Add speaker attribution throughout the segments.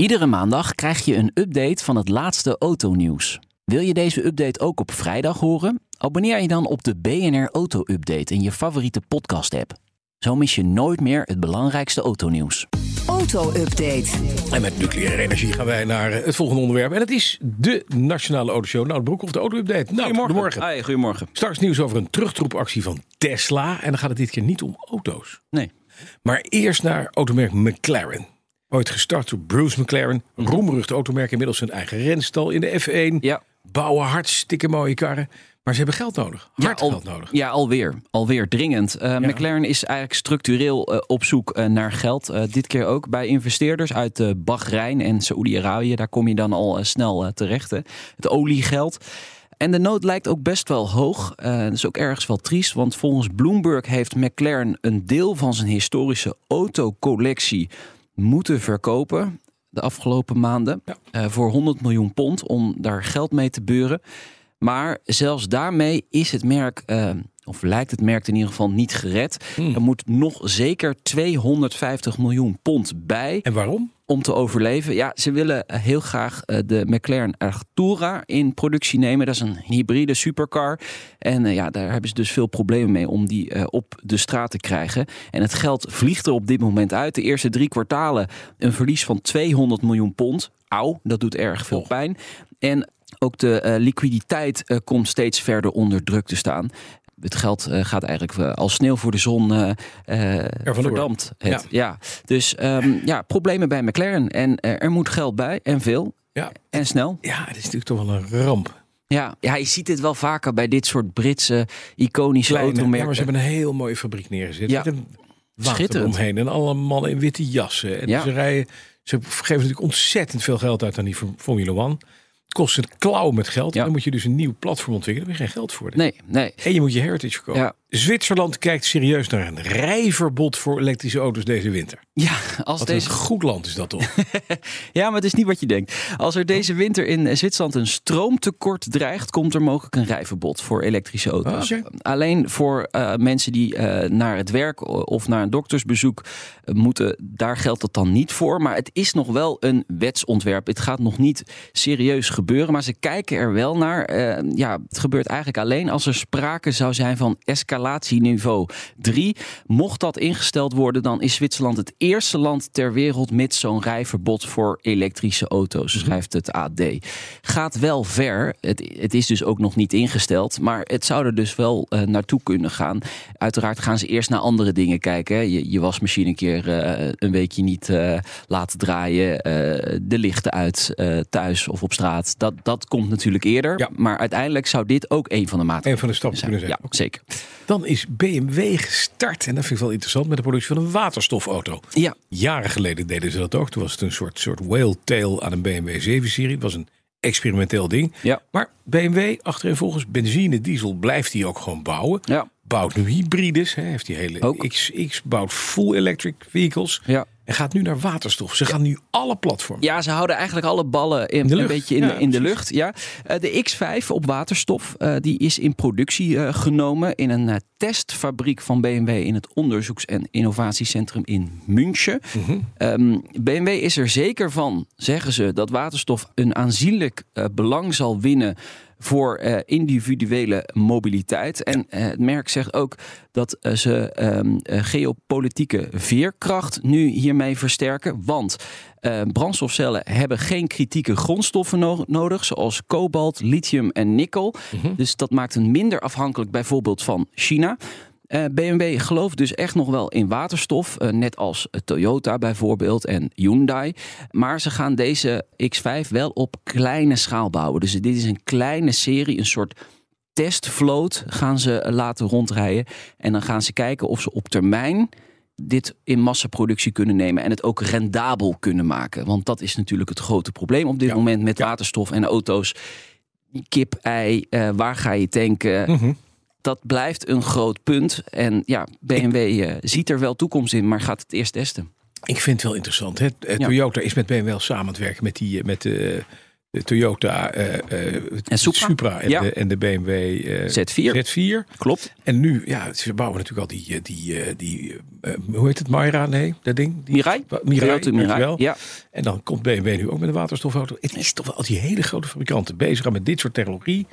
Speaker 1: Iedere maandag krijg je een update van het laatste autonieuws. Wil je deze update ook op vrijdag horen? Abonneer je dan op de BNR Auto Update in je favoriete podcast-app. Zo mis je nooit meer het belangrijkste autonieuws.
Speaker 2: Auto-update.
Speaker 3: En met nucleaire energie gaan wij naar eh, het volgende onderwerp. En dat is de Nationale Autoshow. Nou, Broekhoff, de auto-update. Nou, goedemorgen.
Speaker 4: Hi, goedemorgen.
Speaker 3: Straks nieuws over een terugtroepactie van Tesla. En dan gaat het dit keer niet om auto's.
Speaker 4: Nee.
Speaker 3: Maar eerst naar automerk McLaren. Ooit gestart door Bruce McLaren. Roemrucht automerk, inmiddels zijn eigen renstal in de F1.
Speaker 4: Ja.
Speaker 3: Bouwen hartstikke mooie karren. Maar ze hebben geld nodig.
Speaker 4: Ja,
Speaker 3: Hard
Speaker 4: al-
Speaker 3: geld nodig.
Speaker 4: Ja, alweer. Alweer dringend. Eh, McLaren is eigenlijk structureel eh, op zoek eh, naar geld. Eh, dit keer ook bij investeerders uit eh Bahrein en Saoedi-Arabië. Daar kom je dan al eh, snel eh, terecht. hè. Het oliegeld. En de nood lijkt ook best wel hoog. Eh, dat is ook ergens wel triest, want volgens Bloomberg heeft McLaren een deel van zijn historische autocollectie moeten verkopen de afgelopen maanden eh, voor 100 miljoen pond om daar geld mee te beuren. Maar zelfs daarmee is het merk, eh, of lijkt het merk in ieder geval niet gered. Er moet nog zeker 250 miljoen pond bij
Speaker 3: En waarom?
Speaker 4: om te overleven. Ja, ze willen eh, heel graag eh, de McLaren Artura in productie nemen. Dat is een hybride supercar. En eh, ja, daar hebben ze dus veel problemen mee om die eh, op de straat te krijgen. En het geld vliegt er op dit moment uit. De eerste drie kwartalen een verlies van 200 miljoen pond. Auw, dat doet erg veel pijn. En ook de eh, liquiditeit eh, komt steeds verder onder druk te staan. Het geld eh, gaat eigenlijk eh, als sneeuw voor de zon eh, eh,
Speaker 3: vandoor.
Speaker 4: verdampt. Het. Ja. Dus ehm, ja, problemen bij McLaren. En eh, er moet geld bij en veel.
Speaker 3: Ja.
Speaker 4: En snel.
Speaker 3: Ja, dat is natuurlijk toch wel een ramp.
Speaker 4: Ja, ja, je ziet dit wel vaker bij dit soort Britse iconische
Speaker 3: Kleine, ja, maar
Speaker 4: automerken.
Speaker 3: ze hebben een heel mooie fabriek neergezet.
Speaker 4: Ja.
Speaker 3: Met een water
Speaker 4: Schitterend.
Speaker 3: omheen. En alle mannen in witte jassen. En
Speaker 4: Ja.
Speaker 3: ze rijden. Ze geven natuurlijk ontzettend veel geld uit aan die Form- Formule One. Het kost een klauw met geld.
Speaker 4: Ja.
Speaker 3: En dan moet je dus een nieuw platform ontwikkelen. Daar heb je geen geld voor.
Speaker 4: Nee, nee.
Speaker 3: En je moet je heritage verkopen.
Speaker 4: Ja.
Speaker 3: Zwitserland kijkt serieus naar een rijverbod voor elektrische auto's deze winter.
Speaker 4: Ja, als
Speaker 3: Wat
Speaker 4: deze
Speaker 3: een goed land is dat toch?
Speaker 4: Ja, maar het is niet wat je denkt. Als er deze winter in Zwitserland een stroomtekort dreigt, komt er mogelijk een rijverbod voor elektrische auto's.
Speaker 3: Ah, oké.
Speaker 4: Alleen voor eh, mensen die eh, naar het werk of naar een doktersbezoek eh, moeten, daar geldt dat dan niet voor. Maar het is nog wel een wetsontwerp. Het gaat nog niet serieus gebeuren, maar ze kijken er wel naar. Eh, ja, het gebeurt eigenlijk alleen als er sprake zou zijn van escalatieniveau 3. Mocht dat ingesteld worden, dan is Zwitserland het eerste land ter wereld met zo'n rijverbod voor elektrische auto's, schrijft het AD. Gaat wel ver. Het, het is dus ook nog niet ingesteld, maar het zou er dus wel eh, naartoe kunnen gaan. Uiteraard gaan ze eerst naar andere dingen kijken. hè. Je, je wasmachine een keer eh, een weekje niet eh, laten draaien, eh, de lichten uit eh, thuis of op straat. Dat, dat komt natuurlijk eerder,
Speaker 3: Ja.
Speaker 4: maar uiteindelijk zou dit ook een van de
Speaker 3: een
Speaker 4: maatregelen
Speaker 3: van de stappen
Speaker 4: zijn.
Speaker 3: kunnen zijn.
Speaker 4: Ja, zeker.
Speaker 3: Dan is BMW gestart. En dat vind ik wel interessant met de productie van een waterstofauto.
Speaker 4: Ja,
Speaker 3: Jaren geleden deden ze dat ook. Toen was het een soort, soort whale tail aan een BMW 7-serie. Het was een experimenteel ding.
Speaker 4: Ja.
Speaker 3: Maar BMW, achterin volgens benzine, diesel, blijft die ook gewoon bouwen.
Speaker 4: ja,
Speaker 3: Bouwt nu hybrides. Hè, heeft die hele
Speaker 4: Ook.
Speaker 3: XX, bouwt full electric vehicles.
Speaker 4: ja.
Speaker 3: En gaat nu naar waterstof. Ze gaan nu alle platformen.
Speaker 4: Ja, ze houden eigenlijk alle ballen in,
Speaker 3: de
Speaker 4: een
Speaker 3: lucht.
Speaker 4: beetje in,
Speaker 3: Ja,
Speaker 4: de- in de
Speaker 3: precies.
Speaker 4: lucht. Ja. Eh, De X5 op waterstof eh, die is in productie eh, genomen in een eh, testfabriek van BMW in het onderzoeks- en innovatiecentrum in München.
Speaker 3: Mhm,
Speaker 4: Ehm, BMW is er zeker van, zeggen ze, dat waterstof een aanzienlijk eh, belang zal winnen voor eh, individuele mobiliteit. En eh, het merk zegt ook dat eh, ze ehm, eh, geopolitieke veerkracht nu hiermee versterken. Want eh, brandstofcellen hebben geen kritieke grondstoffen no- nodig, zoals kobalt, lithium en nikkel. Dus dat maakt hen minder afhankelijk bijvoorbeeld van China. Eh, BMW gelooft dus echt nog wel in waterstof, eh, net als eh, Toyota bijvoorbeeld en Hyundai. Maar ze gaan deze X5 wel op kleine schaal bouwen. Dus dit is een kleine serie, een soort testvloot gaan ze eh, laten rondrijden. En dan gaan ze kijken of ze op termijn dit in massaproductie kunnen nemen en het ook rendabel kunnen maken. Want dat is natuurlijk het grote probleem op dit
Speaker 3: Ja.
Speaker 4: moment met
Speaker 3: Ja.
Speaker 4: waterstof en auto's. Kip, ei, eh, waar ga je tanken?
Speaker 3: Mhm.
Speaker 4: Dat blijft een groot punt. En ja, BMW eh, ziet er wel toekomst in, maar gaat het eerst testen.
Speaker 3: Ik vind het wel interessant. Hè? Eh,
Speaker 4: Ja.
Speaker 3: Toyota is met BMW wel samen aan het werken met, die, eh, met de, de Toyota eh, eh,
Speaker 4: En Supra.
Speaker 3: en,
Speaker 4: Ja.
Speaker 3: de, en de BMW eh,
Speaker 4: Z4.
Speaker 3: Z4.
Speaker 4: Klopt.
Speaker 3: En nu, ja, ze bouwen natuurlijk al die, eh, die, eh, die eh, hoe heet het, Myra? Nee, dat ding. Die,
Speaker 4: Mirai?
Speaker 3: Wa- Mirai,
Speaker 4: Toyota Mirai.
Speaker 3: dankjewel.
Speaker 4: Ja.
Speaker 3: En dan komt BMW nu ook met een waterstofauto. Het is toch wel al die hele grote fabrikanten bezig aan met dit soort technologie.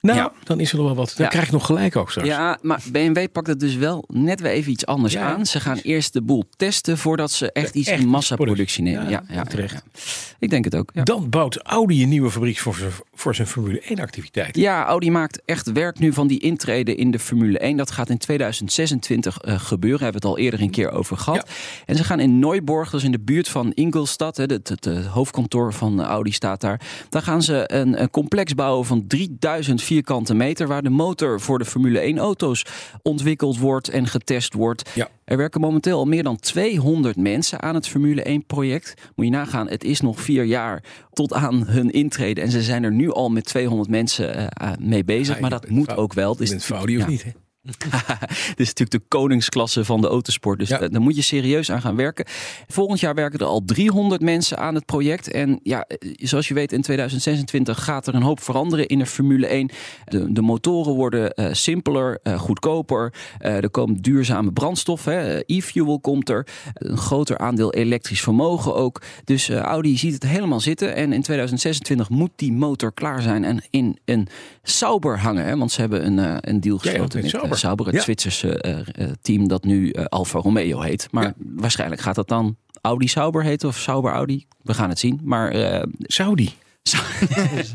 Speaker 3: Nou,
Speaker 4: Ja.
Speaker 3: dan is er nog wel wat. Dan
Speaker 4: Ja.
Speaker 3: krijg je nog gelijk ook straks.
Speaker 4: Ja, maar BMW pakt het dus wel net weer even iets anders
Speaker 3: Ja,
Speaker 4: aan. Ze gaan eerst de boel testen voordat ze echt iets
Speaker 3: echt
Speaker 4: in massaproductie
Speaker 3: productie.
Speaker 4: nemen.
Speaker 3: Ja,
Speaker 4: Ja, ja,
Speaker 3: terecht.
Speaker 4: ja. Ik denk het ook. Ja.
Speaker 3: Dan bouwt Audi een nieuwe fabriek voor zijn, voor zijn Formule 1 activiteit.
Speaker 4: Ja, Audi maakt echt werk nu van die intrede in de Formule 1. Dat gaat in 2026 eh, gebeuren. Hebben we het al eerder een keer over gehad. En ze gaan in Neuborg, dat is in de buurt van Ingolstadt. hè, Het, het, eh, hoofdkantoor van Audi staat daar. Daar gaan ze een, een complex bouwen van 3000 vierkante meter. Waar de motor voor de Formule 1 auto's ontwikkeld wordt en getest wordt.
Speaker 3: Ja.
Speaker 4: Er werken momenteel al meer dan 200 mensen aan het Formule 1 project. Moet je nagaan, het is nog vier jaar tot aan hun intrede. En ze zijn er nu al met 200 mensen eh, aan- mee bezig.
Speaker 3: Ja,
Speaker 4: maar
Speaker 3: je
Speaker 4: dat
Speaker 3: bent
Speaker 4: moet
Speaker 3: fout.
Speaker 4: ook wel. Dus Het
Speaker 3: Is
Speaker 4: is,
Speaker 3: het Audi of
Speaker 4: natuurlijk-
Speaker 3: niet? Hè?
Speaker 4: ja, het is natuurlijk de koningsklasse van de autosport. Dus
Speaker 3: Ja.
Speaker 4: da- daar moet je serieus aan gaan werken. Volgend jaar werken er al 300 mensen aan het project. En ja, eh, zoals je weet, in 2026 gaat er een hoop veranderen in de Formule 1. De, de motoren worden eh, simpeler, eh, goedkoper. Eh, er komen duurzame brandstof. hè. Eh, E-fuel komt er. Een groter aandeel elektrisch vermogen ook. Dus eh, Audi ziet het helemaal zitten. En in 2026 moet die motor klaar zijn en in een Sauber hangen. Hè? Want ze hebben een, eh, een deal
Speaker 3: Ja, ja,
Speaker 4: gesloten
Speaker 3: met
Speaker 4: met eh,
Speaker 3: Sauber.
Speaker 4: Sauber, het
Speaker 3: Ja.
Speaker 4: Zwitserse eh, eh, team dat nu eh, Alfa Romeo heet. Maar
Speaker 3: Ja.
Speaker 4: waarschijnlijk gaat dat dan Audi Sauber heten of Sauber Audi. We gaan het zien. Maar eh,
Speaker 3: Saudi.
Speaker 4: Sa-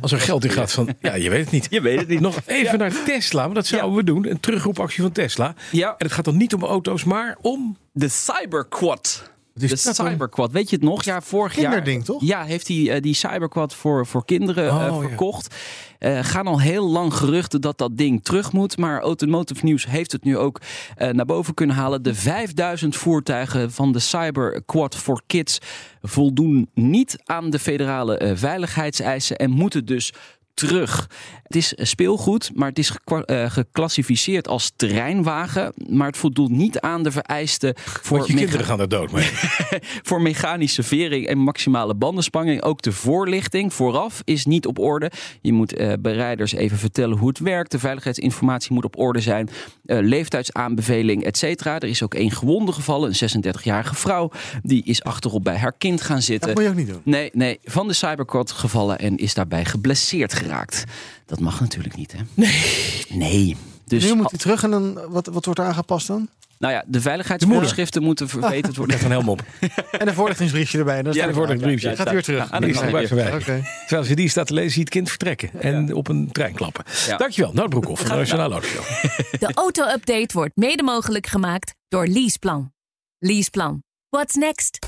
Speaker 3: Als er geld in gaat van, ja, je weet het niet.
Speaker 4: je weet het niet.
Speaker 3: Nog even naar Tesla, want dat zouden we doen. Een terugroepactie van Tesla.
Speaker 4: Ja.
Speaker 3: En het gaat dan niet om auto's, maar om...
Speaker 4: De Cyberquad.
Speaker 3: is
Speaker 4: De
Speaker 3: dat dan?
Speaker 4: Cyberquad, weet je het nog? Dus Ja, vorig jaar.
Speaker 5: Kinderding, toch?
Speaker 4: Ja, heeft hij eh, die Cyberquad voor, voor kinderen eh,
Speaker 3: Oh, ja.
Speaker 4: verkocht. Eh, gaan al heel lang geruchten dat dat ding terug moet. Maar Automotive News heeft het nu ook eh, naar boven kunnen halen. De 5000 voertuigen van de Cyberquad voor Kids voldoen niet aan de federale eh, veiligheidseisen. En moeten dus terug. Het is eh, speelgoed, maar het is gekwa- eh, geclassificeerd als terreinwagen. Maar het voldoet niet aan de vereisten voor
Speaker 3: Want je
Speaker 4: mecha-
Speaker 3: kinderen gaan er dood mee.
Speaker 4: voor mechanische vering en maximale bandenspanning. Ook de voorlichting vooraf is niet op orde. Je moet eh, bereiders even vertellen hoe het werkt. De veiligheidsinformatie moet op orde zijn. Eh, leeftijdsaanbeveling, et cetera. Er is ook één gewonde gevallen, een 36-jarige vrouw. Die is achterop bij haar kind gaan
Speaker 5: Dat
Speaker 4: zitten.
Speaker 5: moet je ook niet doen.
Speaker 4: Nee, nee, van de cyberquad gevallen en is daarbij geblesseerd geraakt. Dat mag natuurlijk niet, hè? Nee. Nee. Dus,
Speaker 5: nu moet hij terug en dan, wat, wat wordt er aangepast dan?
Speaker 4: nou ja, de veiligheidsvoorschriften moeten
Speaker 5: Ah.
Speaker 4: verbeterd worden.
Speaker 3: Van helemaal op.
Speaker 5: En een voorlichtingsbriefje erbij. Dan
Speaker 3: Ja, een voorlichtingsbriefje.
Speaker 5: Gaat hij weer terug.
Speaker 4: aan de
Speaker 3: Die is
Speaker 4: kant.
Speaker 3: erbij verwijderd.
Speaker 5: Oké.
Speaker 3: Terwijl ze die staat te lezen, zie je het kind vertrekken. En op een trein klappen.
Speaker 4: Ja.
Speaker 3: Dankjewel, Nout Broekhoff van de Nationale Autoshow.
Speaker 6: De auto-update wordt mede mogelijk gemaakt door Leaseplan. Leaseplan. What's next?